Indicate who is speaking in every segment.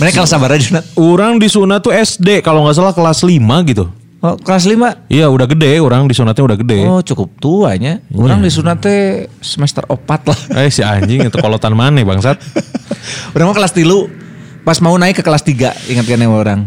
Speaker 1: Mereka kalau sabar aja Nat.
Speaker 2: Orang disunat tuh SD kalau nggak salah kelas 5 gitu.
Speaker 1: Oh, kelas 5
Speaker 2: Iya udah gede, orang disunatnya udah gede.
Speaker 1: Oh cukup tuanya Orang disunat teh semester 4 lah
Speaker 2: Eh si anjing itu kolotan mana bangsat?
Speaker 1: Orang mah kelas tilu Pas mau naik ke kelas 3 Ingat kan yang orang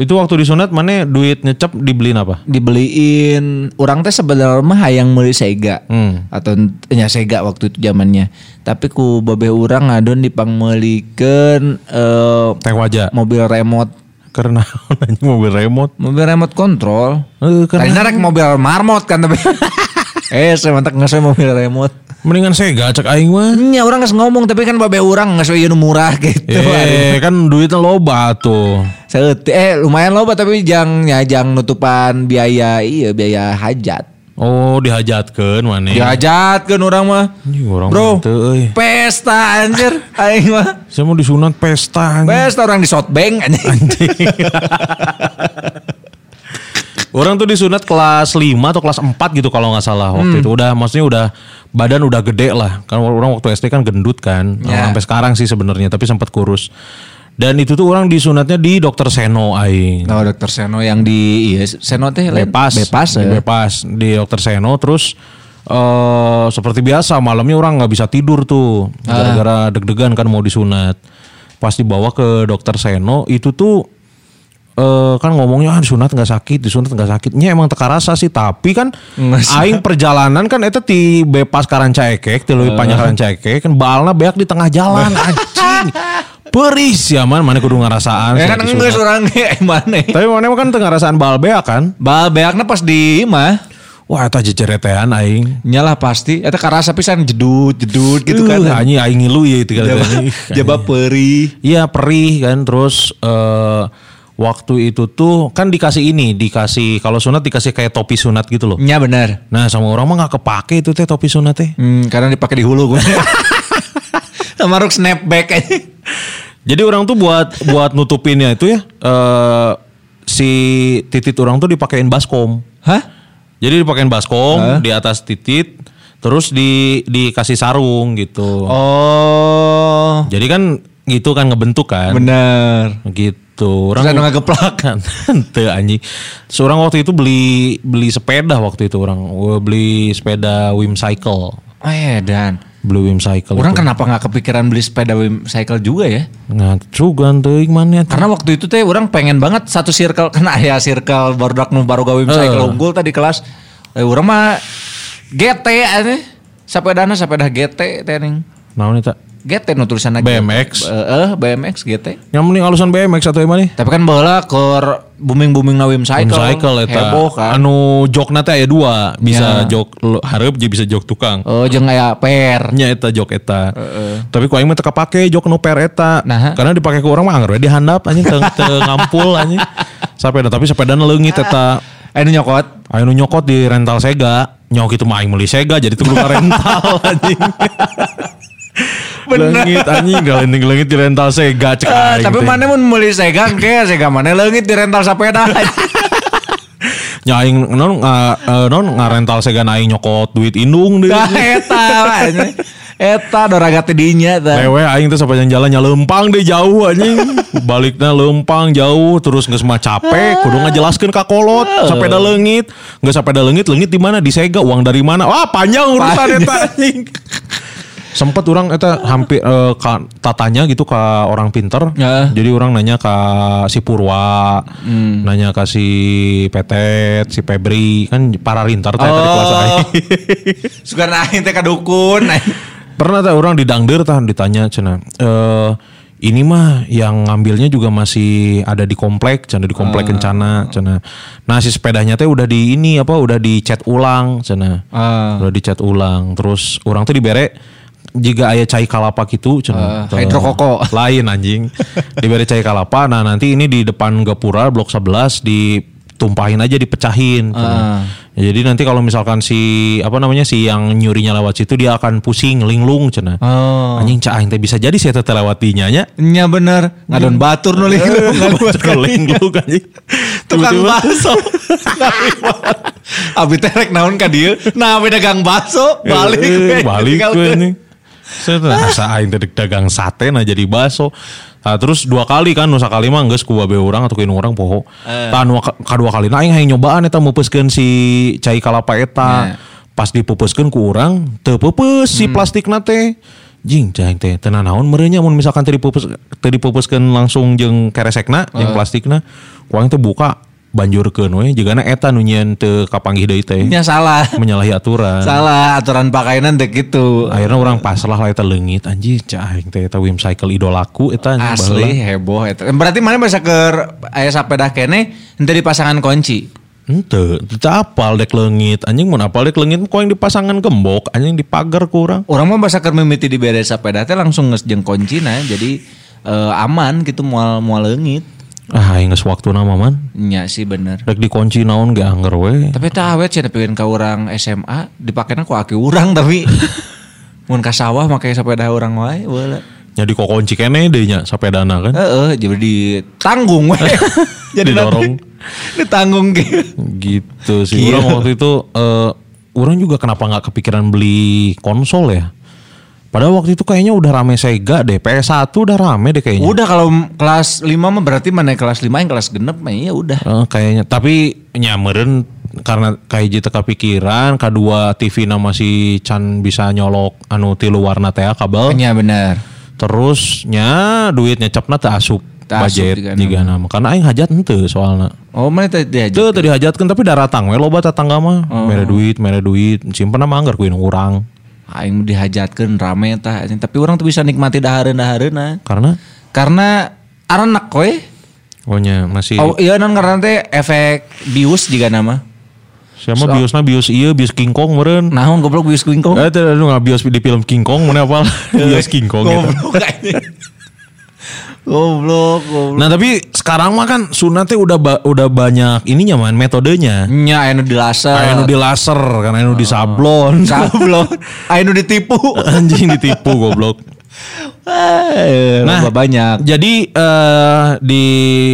Speaker 2: Itu waktu disunat mana duit nyecep dibeliin apa?
Speaker 1: Dibeliin Orang teh sebenarnya mah hayang meuli sega
Speaker 2: Hmm.
Speaker 1: Atau nya sega waktu itu zamannya Tapi ku babeh orang ngadon dipangmeulikeun eh,
Speaker 2: Tank wajah.
Speaker 1: Mobil remote
Speaker 2: Karena anjing mobil remote.
Speaker 1: Mobil remote control
Speaker 2: Eh, karena-
Speaker 1: Tadinya rek mobil marmot kan tapi Eh saya mantak nggak saya mobil remote
Speaker 2: Mendingan Sega cek aing mah.
Speaker 1: Ya orang nggak ngomong tapi kan babe orang nggak sesuai murah gitu.
Speaker 2: Eh kan duitnya loba tuh.
Speaker 1: Seut- eh lumayan loba tapi jang ya jang nutupan biaya iya biaya hajat.
Speaker 2: Oh dihajatkan mana?
Speaker 1: Dihajat Iya. kan orang mah.
Speaker 2: Anjing, orang
Speaker 1: Bro,
Speaker 2: mah teu, euy.
Speaker 1: Iya. pesta anjir. Aing mah.
Speaker 2: Saya mau disunat pesta. anjing.
Speaker 1: Pesta orang di shotbank anjing.
Speaker 2: Orang tuh disunat kelas 5 atau kelas 4 gitu kalau nggak salah waktu itu. Udah maksudnya udah badan udah gede lah. Kan orang waktu SD kan gendut kan.
Speaker 1: Ya.
Speaker 2: Sampai sekarang sih sebenarnya tapi sempat kurus. Dan itu tuh orang disunatnya di dokter Seno aing.
Speaker 1: Nah, dokter Seno yang di iya Seno teh lain.
Speaker 2: Bebas,
Speaker 1: Bebas.
Speaker 2: di
Speaker 1: eh.
Speaker 2: Bebas. di dokter Seno terus eh seperti biasa malamnya orang nggak bisa tidur tuh gara-gara deg-degan kan mau disunat. Pas dibawa ke dokter Seno itu tuh eh kan ngomongnya ah disunat nggak sakit, disunat nggak sakit. Nya emang teka rasa sih, tapi kan aing perjalanan kan eta ti Bepas Karancaekek, ti leuwih panjang Karancaekek kan balna beak di tengah jalan anjing. Peris ya man, mana kudu ngarasaan.
Speaker 1: Ya
Speaker 2: saat
Speaker 1: kan
Speaker 2: disunat.
Speaker 1: enggak orang mana.
Speaker 2: Tapi mana kan tengah rasaan bal beak kan?
Speaker 1: Ba beakna pas di mah
Speaker 2: Wah, eta jejeretean aing.
Speaker 1: nyalah pasti. Eta karasa pisan jedut jedut gitu
Speaker 2: Itu kan
Speaker 1: kan.
Speaker 2: hanya aing ngilu ya itu
Speaker 1: Jaba, jaba perih.
Speaker 2: Iya, perih kan terus eh waktu itu tuh kan dikasih ini, dikasih kalau sunat dikasih kayak topi sunat gitu loh.
Speaker 1: Nya Iya, benar.
Speaker 2: Nah, sama orang mah nggak kepake itu teh topi sunat teh.
Speaker 1: Hmm, karena dipakai di hulu gue. Sama ruk snapback aja.
Speaker 2: Jadi orang tuh buat buat nutupinnya itu ya eh si titit orang tuh dipakein baskom.
Speaker 1: Hah?
Speaker 2: Jadi dipakein baskom di atas titit terus di dikasih sarung gitu.
Speaker 1: Oh,
Speaker 2: Jadi kan gitu kan ngebentuk kan.
Speaker 1: bener.
Speaker 2: gitu
Speaker 1: Terus
Speaker 2: orang
Speaker 1: ada ngegeplak.
Speaker 2: Teu, anjing seorang waktu itu beli beli sepeda waktu itu orang Gua beli sepeda Wim Cycle
Speaker 1: Eh dan,
Speaker 2: beli Wim Cycle
Speaker 1: orang kenapa nggak kepikiran beli sepeda wim cycle juga ya?
Speaker 2: nah juga teuing mana
Speaker 1: Karena waktu itu teh orang pengen banget satu circle kena ya circle baru nu baru gawe wim cycle unggul tadi kelas. Eh orang mah GT aja. Sepedana sepeda GT teh ning.
Speaker 2: naon eta
Speaker 1: GT nu tulisanna GT.
Speaker 2: BMX.
Speaker 1: Eh, BMX GT.
Speaker 2: yang mending alusan BMX atau emang nih
Speaker 1: Tapi kan bola keur booming-booming na wim
Speaker 2: Wim
Speaker 1: cycle.
Speaker 2: Cycle eta
Speaker 1: Heboh kan.
Speaker 2: anu jokna teh aya dua bisa
Speaker 1: Ya.
Speaker 2: jok lo- hareup jeung bisa jok tukang
Speaker 1: Oh, jeung aya per.
Speaker 2: nya eta jok eta tapi ku aing mah teu kapake jok nu per eta
Speaker 1: Nah.
Speaker 2: karena dipake ku orang mah anggar we dihandap anjing teu teu ngampul anjing sepeda tapi sepeda leungit eta
Speaker 1: Eh, nu nyokot.
Speaker 2: Ayo nu nyokot di rental Sega. Nyok itu mah aing meuli Sega jadi tuh lupa rental anjing. Lengit anjing galending lengit di rental Sega cek
Speaker 1: Eh,
Speaker 2: aing.
Speaker 1: tapi
Speaker 2: teh.
Speaker 1: mana mun meuli sega ke sega mana leungit di rental sepeda. Nah,
Speaker 2: Nya aing non nga- eh, non ngarental Sega na aing nyokot duit indung deh.
Speaker 1: Dah eta wanya. Eta doraga teh dinya tah.
Speaker 2: Lewe aing tuh sepanjang jalan nya lempang deh jauh anjing. Baliknya lempang jauh terus geus mah capek kudu ngajelaskeun ka kolot sepeda leungit. Geus sepeda leungit leungit di mana di Sega uang dari mana? Wah panjang urusan
Speaker 1: Panjang.
Speaker 2: eta anjing. Sempet orang eta hampir eh, ka- tatanya gitu ke orang pinter.
Speaker 1: Ya.
Speaker 2: Jadi orang nanya ke si Purwa, nanya ke si Petet, si Febri, kan para rintar teh tadi kelas aing.
Speaker 1: Oh. Suka naik teh ka dukun. aing.
Speaker 2: Pernah tak orang didangder tahan ditanya cina. Eh ini mah yang ngambilnya juga masih ada di komplek, cina di komplek
Speaker 1: Ah.
Speaker 2: kencana, cina. Nah si sepedanya teh udah di ini apa udah dicat ulang, cina.
Speaker 1: Ah.
Speaker 2: Udah dicat ulang. Terus orang tuh dibere jika ayah cai kalapa gitu, cina.
Speaker 1: Ah, hidrokoko.
Speaker 2: Lain anjing. dibere cai kalapa. Nah nanti ini di depan gapura blok 11 ditumpahin aja dipecahin. cina.
Speaker 1: Ah.
Speaker 2: Ya, Jadi nanti kalau misalkan si apa namanya si yang nyurinya lewat situ dia akan pusing linglung cenah.
Speaker 1: Oh.
Speaker 2: Anjing cah aing teh bisa jadi si eta teh lewat dinya nya.
Speaker 1: Nya bener, ngadon batur nu linglung.
Speaker 2: Batur linglung anjing.
Speaker 1: Tukang
Speaker 2: Tiba-tiba-
Speaker 1: bakso. Abi teh rek naon ka dieu? Nah, beda gang bakso, balik
Speaker 2: Eh,
Speaker 1: we.
Speaker 2: balik
Speaker 1: Tinggal
Speaker 2: gue
Speaker 1: teu.
Speaker 2: anjing. Asa aing teh dek dagang sate nah jadi baso. Nah, terus dua kali kan nusa kali mah geus ku babe urang atau kinu urang poho. Tah nu kadua kali nah aing hayang nyobaan eta meupeskeun si cai kalapa eta. Pas dipupeuskeun ku urang teu pepeus si plastikna teh. Jing cai teh teu naon meureunnya mun misalkan teu dipeupes teu dipeupeskeun langsung jeung keresekna jeung plastikna. Ku aing teh buka banjurkeun we jigana eta nu nyian teu kapanggih deui teh.
Speaker 1: Nya Ya, salah.
Speaker 2: Menyalahi aturan.
Speaker 1: Salah aturan pakaian dek gitu.
Speaker 2: akhirnya orang pasrah lah eta leungit anjir cah aing teh eta Wim Cycle idolaku eta anjing
Speaker 1: Asli heboh eta. Berarti mana bisa ke aya sapeda kene henteu dipasangan kunci.
Speaker 2: Ente, kita apal dek leungit. Anjing mun apal dek leungit kok yang dipasangan gembok, anjing dipagar kurang.
Speaker 1: Orang mah bisa keur mimiti di bere sapeda teh langsung nges jeung kunci nah jadi eh, aman gitu moal moal leungit.
Speaker 2: Ah, aing geus waktuna mah man.
Speaker 1: Nya sih bener.
Speaker 2: Rek dikunci naon ge anger we.
Speaker 1: Tapi tak awet sih pikeun ka urang SMA dipakaina ku aki urang tapi mun ka sawah make sapeda urang wae bola.
Speaker 2: Nya dikokunci kene deui nya sapedana kan.
Speaker 1: Heeh, jadi ditanggung we. jadi
Speaker 2: Didorong.
Speaker 1: nanti ditanggung gitu.
Speaker 2: Gitu sih. Orang waktu itu eh orang juga kenapa nggak kepikiran beli konsol ya? Padahal waktu itu kayaknya udah rame Sega deh. PS1 udah rame deh kayaknya.
Speaker 1: Udah kalau m- kelas 5 mah berarti mana yang kelas 5 yang kelas genep mah ya udah.
Speaker 2: Eh, kayaknya tapi nyameren karena kayak jeta kepikiran kedua TV na masih can bisa nyolok anu tilu warna teh kabel
Speaker 1: Iya benar.
Speaker 2: terusnya duitnya capna teu asup
Speaker 1: Teu asup
Speaker 2: budget
Speaker 1: jigana.
Speaker 2: jika nama karena aing hajat ente soalnya
Speaker 1: Oh mana tadi diajak?
Speaker 2: itu tadi hajatkan tapi daratang we loba tetangga mah
Speaker 1: Oh.
Speaker 2: mere duit mere duit simpen nama anggar kuin urang
Speaker 1: Aing dihajatkan rame tah. anjing. Tapi orang tuh bisa nikmati dahareun-dahareuna.
Speaker 2: karena
Speaker 1: Karena arenak we.
Speaker 2: ohnya masih
Speaker 1: Oh iya non karena teh efek bius juga nama.
Speaker 2: siapa biosna bios iya bios King Kong meren
Speaker 1: Naon goblok bius kuingkong.
Speaker 2: Eh, teu anu ngabios di film King Kong mana apa?
Speaker 1: Iya.
Speaker 2: Bios King Kong gitu.
Speaker 1: Goblok anjing. Goblok, goblok.
Speaker 2: Nah tapi sekarang mah kan sunat teh udah ba- udah banyak ininya man metodenya.
Speaker 1: Nya anu dilasa.
Speaker 2: Kayak nu di laser, kan anu di sablon.
Speaker 1: Sablon. Anu ditipu.
Speaker 2: Anjing ditipu goblok.
Speaker 1: Nah, banyak.
Speaker 2: Jadi eh, di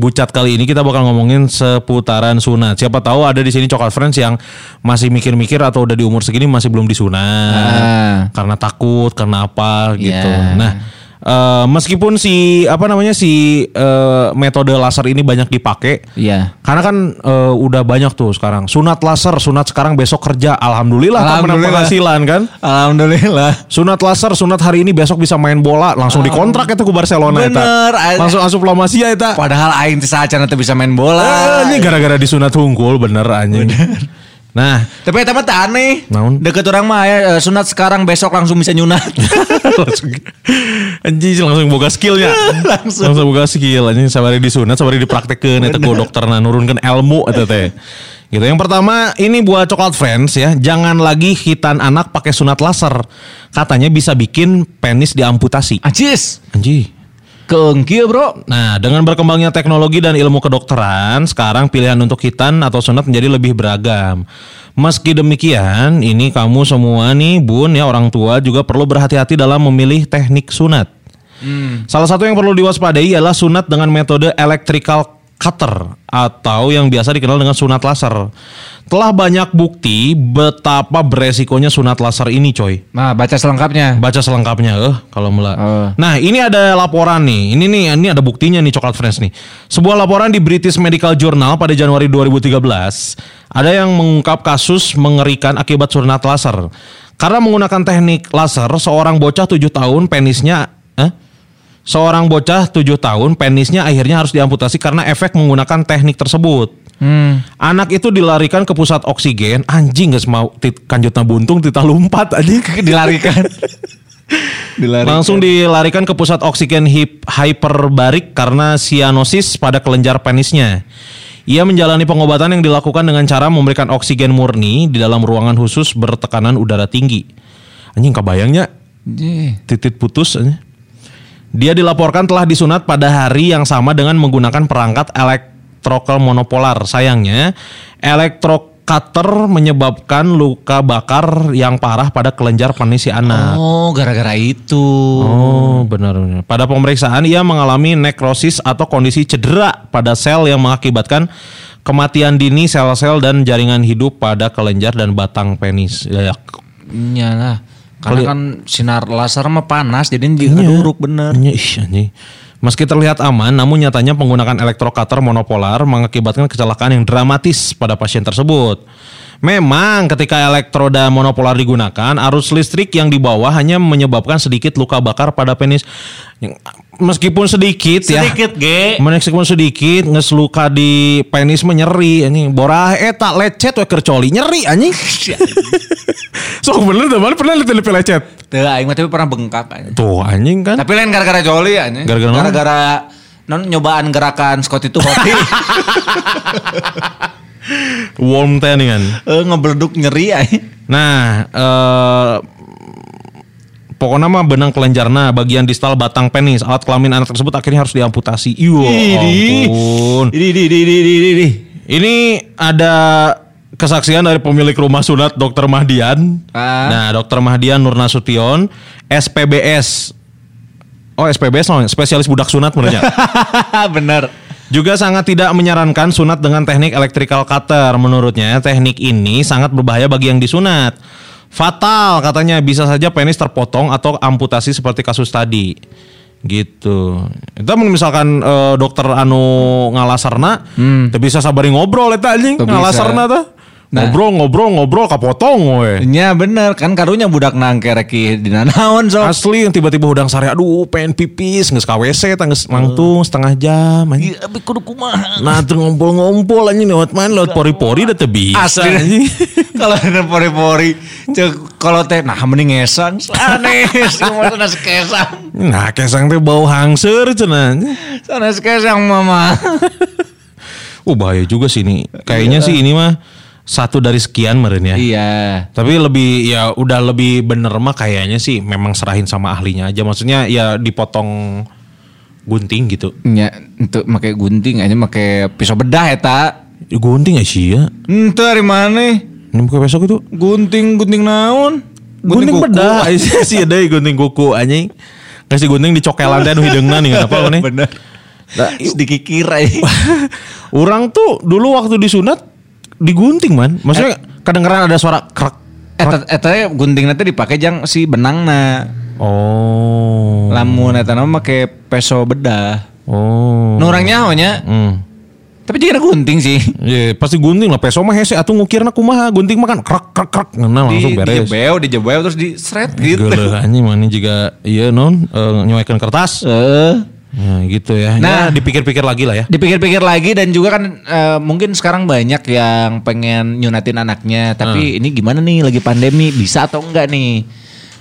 Speaker 2: bucat kali ini kita bakal ngomongin seputaran sunat. Siapa tahu ada di sini coklat friends yang masih mikir-mikir atau udah di umur segini masih belum disunat
Speaker 1: Ah.
Speaker 2: karena takut, karena apa gitu.
Speaker 1: Iya.
Speaker 2: Nah, eh, meskipun si apa namanya si eh, metode laser ini banyak dipakai,
Speaker 1: Iya.
Speaker 2: Karena kan eh, udah banyak tuh sekarang. Sunat laser, sunat sekarang besok kerja. Alhamdulillah, kan menang
Speaker 1: Alhamdulillah.
Speaker 2: penghasilan kan.
Speaker 1: Alhamdulillah.
Speaker 2: Sunat laser, sunat hari ini besok bisa main bola, langsung dikontrak itu ke Barcelona eta.
Speaker 1: Bener, a-
Speaker 2: Langsung asup La Masia eta.
Speaker 1: Padahal aing teh saacana teh bisa main bola.
Speaker 2: Ah, Ini gara-gara disunat hungkul bener anjing. Nah,
Speaker 1: Tapi eta mah teu aneh.
Speaker 2: Naon?
Speaker 1: Deket orang mah aya eh, sunat sekarang besok langsung bisa nyunat.
Speaker 2: langsung anjing langsung boga skillnya. langsung. boga skill anjing sabari disunat, sabari dipraktekeun eta ku dokterna nurunkeun ilmu eta teh. Gitu. Yang pertama ini buat coklat friends ya, jangan lagi hitan anak pakai sunat laser. Katanya bisa bikin penis diamputasi.
Speaker 1: Acis.
Speaker 2: Anjing.
Speaker 1: Keung kieu, ya, Bro.
Speaker 2: Nah, dengan berkembangnya teknologi dan ilmu kedokteran, sekarang pilihan untuk hitan atau sunat menjadi lebih beragam. Meski demikian, ini kamu semua nih, Bun, ya orang tua juga perlu berhati-hati dalam memilih teknik sunat. Salah satu yang perlu diwaspadai ialah sunat dengan metode electrical cutter atau yang biasa dikenal dengan sunat laser. Telah banyak bukti betapa beresikonya sunat laser ini, coy.
Speaker 1: Nah, baca selengkapnya.
Speaker 2: Baca selengkapnya, eh kalau mela.
Speaker 1: Eh.
Speaker 2: Nah, ini ada laporan nih. Ini nih, ini ada buktinya nih Coklat Friends nih. Sebuah laporan di British Medical Journal pada Januari 2013 ada yang mengungkap kasus mengerikan akibat sunat laser. Karena menggunakan teknik laser, seorang bocah 7 tahun penisnya eh? Seorang bocah 7 tahun penisnya akhirnya harus diamputasi karena efek menggunakan teknik tersebut.
Speaker 1: Hmm.
Speaker 2: Anak itu dilarikan ke pusat oksigen, anjing guys mau tit- kanjutna buntung titah lompat anjing
Speaker 1: Dilarikan. Dilarikan.
Speaker 2: Langsung dilarikan ke pusat oksigen hip hyperbarik karena sianosis pada kelenjar penisnya. Ia menjalani pengobatan yang dilakukan dengan cara memberikan oksigen murni di dalam ruangan khusus bertekanan udara tinggi. Anjing kebayangnya
Speaker 1: Jih.
Speaker 2: titik putus anjing. Dia dilaporkan telah disunat pada hari yang sama dengan menggunakan perangkat elektrokal monopolar. Sayangnya, elektrokater menyebabkan luka bakar yang parah pada kelenjar penis si anak.
Speaker 1: Oh, gara-gara itu.
Speaker 2: Oh, benar benar. Pada pemeriksaan ia mengalami nekrosis atau kondisi cedera pada sel yang mengakibatkan kematian dini sel-sel dan jaringan hidup pada kelenjar dan batang penis. Ya, ya.
Speaker 1: Iyalah. Iya Karena kan sinar laser mah panas jadi ini keduruk bener.
Speaker 2: Iya, ih, anjing. Meski terlihat aman, namun nyatanya penggunaan elektrokater monopolar mengakibatkan kecelakaan yang dramatis pada pasien tersebut. Memang ketika elektroda monopolar digunakan, arus listrik yang dibawa hanya menyebabkan sedikit luka bakar pada penis. Meskipun sedikit,
Speaker 1: Iya.
Speaker 2: ya.
Speaker 3: Sedikit ge.
Speaker 2: Meskipun sedikit nges luka di penis menyeri anjing. Borah eta eh, lecet we keur coli nyeri anjing. Sok bener dah mana pernah lihat lepe lecet.
Speaker 1: Tuh aing mah tapi pernah bengkak aja.
Speaker 2: Tuh anjing kan.
Speaker 1: Tapi lain gara-gara joli aja.
Speaker 2: Gara-gara naon?
Speaker 1: Gara-gara non nyobaan gerakan Scott itu hotel.
Speaker 2: Warm tanning kan.
Speaker 1: Eh, ngebeleduk nyeri aja.
Speaker 2: Nah, eh pokoknya mah benang kelenjarna bagian distal batang penis alat kelamin anak tersebut akhirnya harus diamputasi.
Speaker 1: Oh,
Speaker 2: Iyo, ampun.
Speaker 1: Di di di di di di.
Speaker 2: Ini ada kesaksian dari pemilik rumah sunat Dr. Mahdian.
Speaker 1: Ah.
Speaker 2: Nah, Dr. Mahdian Nurnasution, SPBS. Oh, SPBS loh, spesialis budak sunat menurutnya.
Speaker 1: Bener.
Speaker 2: Juga sangat tidak menyarankan sunat dengan teknik electrical cutter. Menurutnya, teknik ini sangat berbahaya bagi yang disunat. Fatal katanya bisa saja penis terpotong atau amputasi seperti kasus tadi. Gitu. Itu mun misalkan eh, dokter anu ngalasarna, teu bisa sabari ngobrol eta anjing
Speaker 1: Hmm. Teu bisa.
Speaker 2: ngalasarna teh.
Speaker 1: Nah.
Speaker 2: Ngobrol ngobrol ngobrol kapotong we.
Speaker 1: Ya bener kan karunya budak nangke reki di naon sok.
Speaker 2: Asli yang tiba-tiba udang sari aduh pengen pipis nges KWC tangges langtung setengah jam anjing.
Speaker 1: Iya, abi kudu kumaha.
Speaker 2: Nah tuh ngumpul-ngumpul anjing lewat main lewat pori-pori udah teu bisa
Speaker 1: Asli
Speaker 2: anjing.
Speaker 1: kalau ada pori-pori, cek kalau teh nah mending ngesang, aneh, semua sana sekesang,
Speaker 2: Nah kesang teh bau hangser cenah.
Speaker 1: sana sekesang mama.
Speaker 2: Uh bahaya juga sih ini. Kayaknya sih ini mah satu dari sekian meren ya.
Speaker 1: Iya,
Speaker 2: Tapi lebih ya udah lebih bener mah kayaknya sih memang serahin sama ahlinya aja. Maksudnya ya dipotong gunting gitu.
Speaker 1: ya untuk pakai gunting aja, pakai pisau bedah eta.
Speaker 2: Ya, gunting ya sih ya.
Speaker 1: Ente dari mana?
Speaker 2: Ini buka besok itu.
Speaker 1: Gunting gunting naon?
Speaker 2: Gunting,
Speaker 1: kuku.
Speaker 2: bedah. Iya, sih ada ya, gunting kuku anjing. Kasih gunting di cokelan teh anu hidengna nih apa nih.
Speaker 1: Bener. Sedikit kira ini.
Speaker 2: Orang tuh dulu waktu disunat digunting man. Maksudnya kedengeran ada suara krek.
Speaker 1: Eta eta teh eh, gunting nanti dipakai jang si benangna.
Speaker 2: Oh.
Speaker 1: Lamun eta nama pakai peso bedah.
Speaker 2: Oh.
Speaker 1: Nu urang nyaho nya.
Speaker 2: Hmm.
Speaker 1: Tapi jika ada gunting sih.
Speaker 2: Iya, pasti gunting lah. Peso mah hese atuh ngukirna kumaha, gunting mah kan krek krek krek nah, langsung
Speaker 1: di,
Speaker 2: beres.
Speaker 1: dijebeu, dijebeu terus diseret gitu.
Speaker 2: Geuleuh anjing mana juga iya non uh, kertas.
Speaker 1: Eh,
Speaker 2: Nah, gitu ya.
Speaker 1: Nah.
Speaker 2: Ya, dipikir-pikir lagi lah ya.
Speaker 1: dipikir-pikir lagi dan juga kan eh, mungkin sekarang banyak yang pengen nyunatin anaknya,
Speaker 2: Hmm.
Speaker 1: tapi ini gimana nih lagi pandemi bisa atau enggak nih?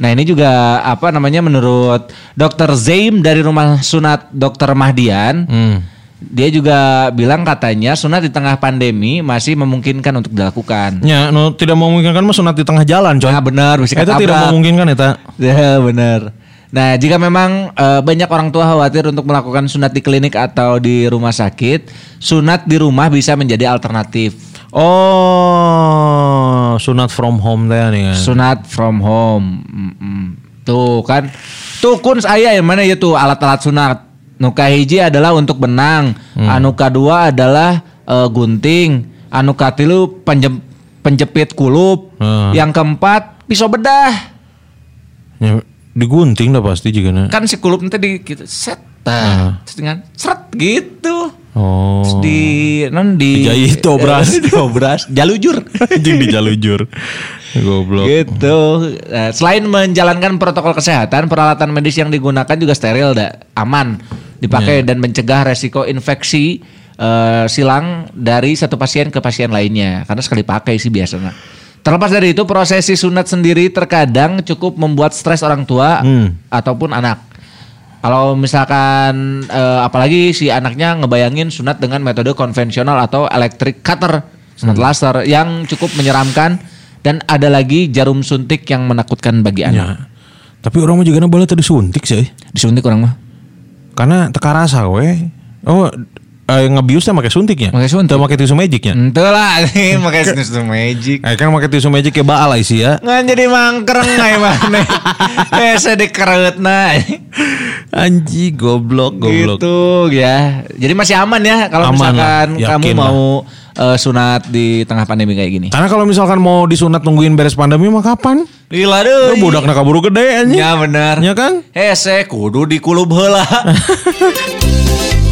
Speaker 1: Nah ini juga apa namanya menurut Dokter Zaim dari Rumah Sunat Dokter Mahdian,
Speaker 2: Hmm.
Speaker 1: dia juga bilang katanya sunat di tengah pandemi masih memungkinkan untuk dilakukan.
Speaker 2: Ya, no, tidak memungkinkan mah sunat di tengah jalan, coy. Eh,
Speaker 1: Nah benar, bisa
Speaker 2: Itu tidak memungkinkan eta.
Speaker 1: Ya benar. Nah jika memang eh, banyak orang tua khawatir untuk melakukan sunat di klinik atau di rumah sakit, sunat di rumah bisa menjadi alternatif.
Speaker 2: Oh, sunat from home teh nih kan.
Speaker 1: Sunat from home. Mm-mm. Tuh kan. Tuh kun saya yang mana ya tuh alat-alat sunat. Nuka hiji adalah untuk benang. Anuka dua adalah eh, gunting. Anuka tilu penjem- penjepit kulup.
Speaker 2: Hmm.
Speaker 1: Yang keempat pisau bedah.
Speaker 2: Ya, digunting dah pasti juga nah.
Speaker 1: kan si kulup nanti di gitu, set tah, terus dengan seret gitu
Speaker 2: Oh.
Speaker 1: terus di non di
Speaker 2: Dijahit obras.
Speaker 1: obras jalujur
Speaker 2: Anjing dijalujur. Goblok.
Speaker 1: gitu Nah, selain menjalankan protokol kesehatan peralatan medis yang digunakan juga steril da, aman dipakai
Speaker 2: Ya.
Speaker 1: dan mencegah resiko infeksi eh, silang dari satu pasien ke pasien lainnya karena sekali pakai sih biasanya terlepas dari itu prosesi sunat sendiri terkadang cukup membuat stres orang tua
Speaker 2: Hmm.
Speaker 1: ataupun anak kalau misalkan eh, apalagi si anaknya ngebayangin sunat dengan metode konvensional atau electric cutter sunat laser yang cukup menyeramkan dan ada lagi jarum suntik yang menakutkan bagi anak.
Speaker 2: Ya. Tapi orang mah
Speaker 1: Ya.
Speaker 2: juga na bala tadi suntik sih.
Speaker 1: Disuntik orang mah.
Speaker 2: Karena teka rasa we. Oh, eh, ngebiusnya pakai suntiknya.
Speaker 1: Pakai suntik.
Speaker 2: Nggak pakai ya? tisu magicnya.
Speaker 1: Ente lah nih pakai snus magic.
Speaker 2: Eh kan pakai tisu magic ya baal lah isi ya.
Speaker 1: Ngan jadi mangkreng ay mana. Biasa dikereutna.
Speaker 2: Anji goblok goblok.
Speaker 1: Gitu ya. Jadi masih aman ya kalau
Speaker 2: Aman
Speaker 1: misalkan
Speaker 2: lah,
Speaker 1: kamu
Speaker 2: yakin
Speaker 1: mau eh, sunat di tengah pandemi kayak gini.
Speaker 2: Karena kalau misalkan mau disunat nungguin beres pandemi mah kapan?
Speaker 1: Lila
Speaker 2: Lu
Speaker 1: deh.
Speaker 2: budak nak buru Iya, gede anjing.
Speaker 1: Ya benar.
Speaker 2: Ya kan?
Speaker 1: Hese kudu dikulub heula.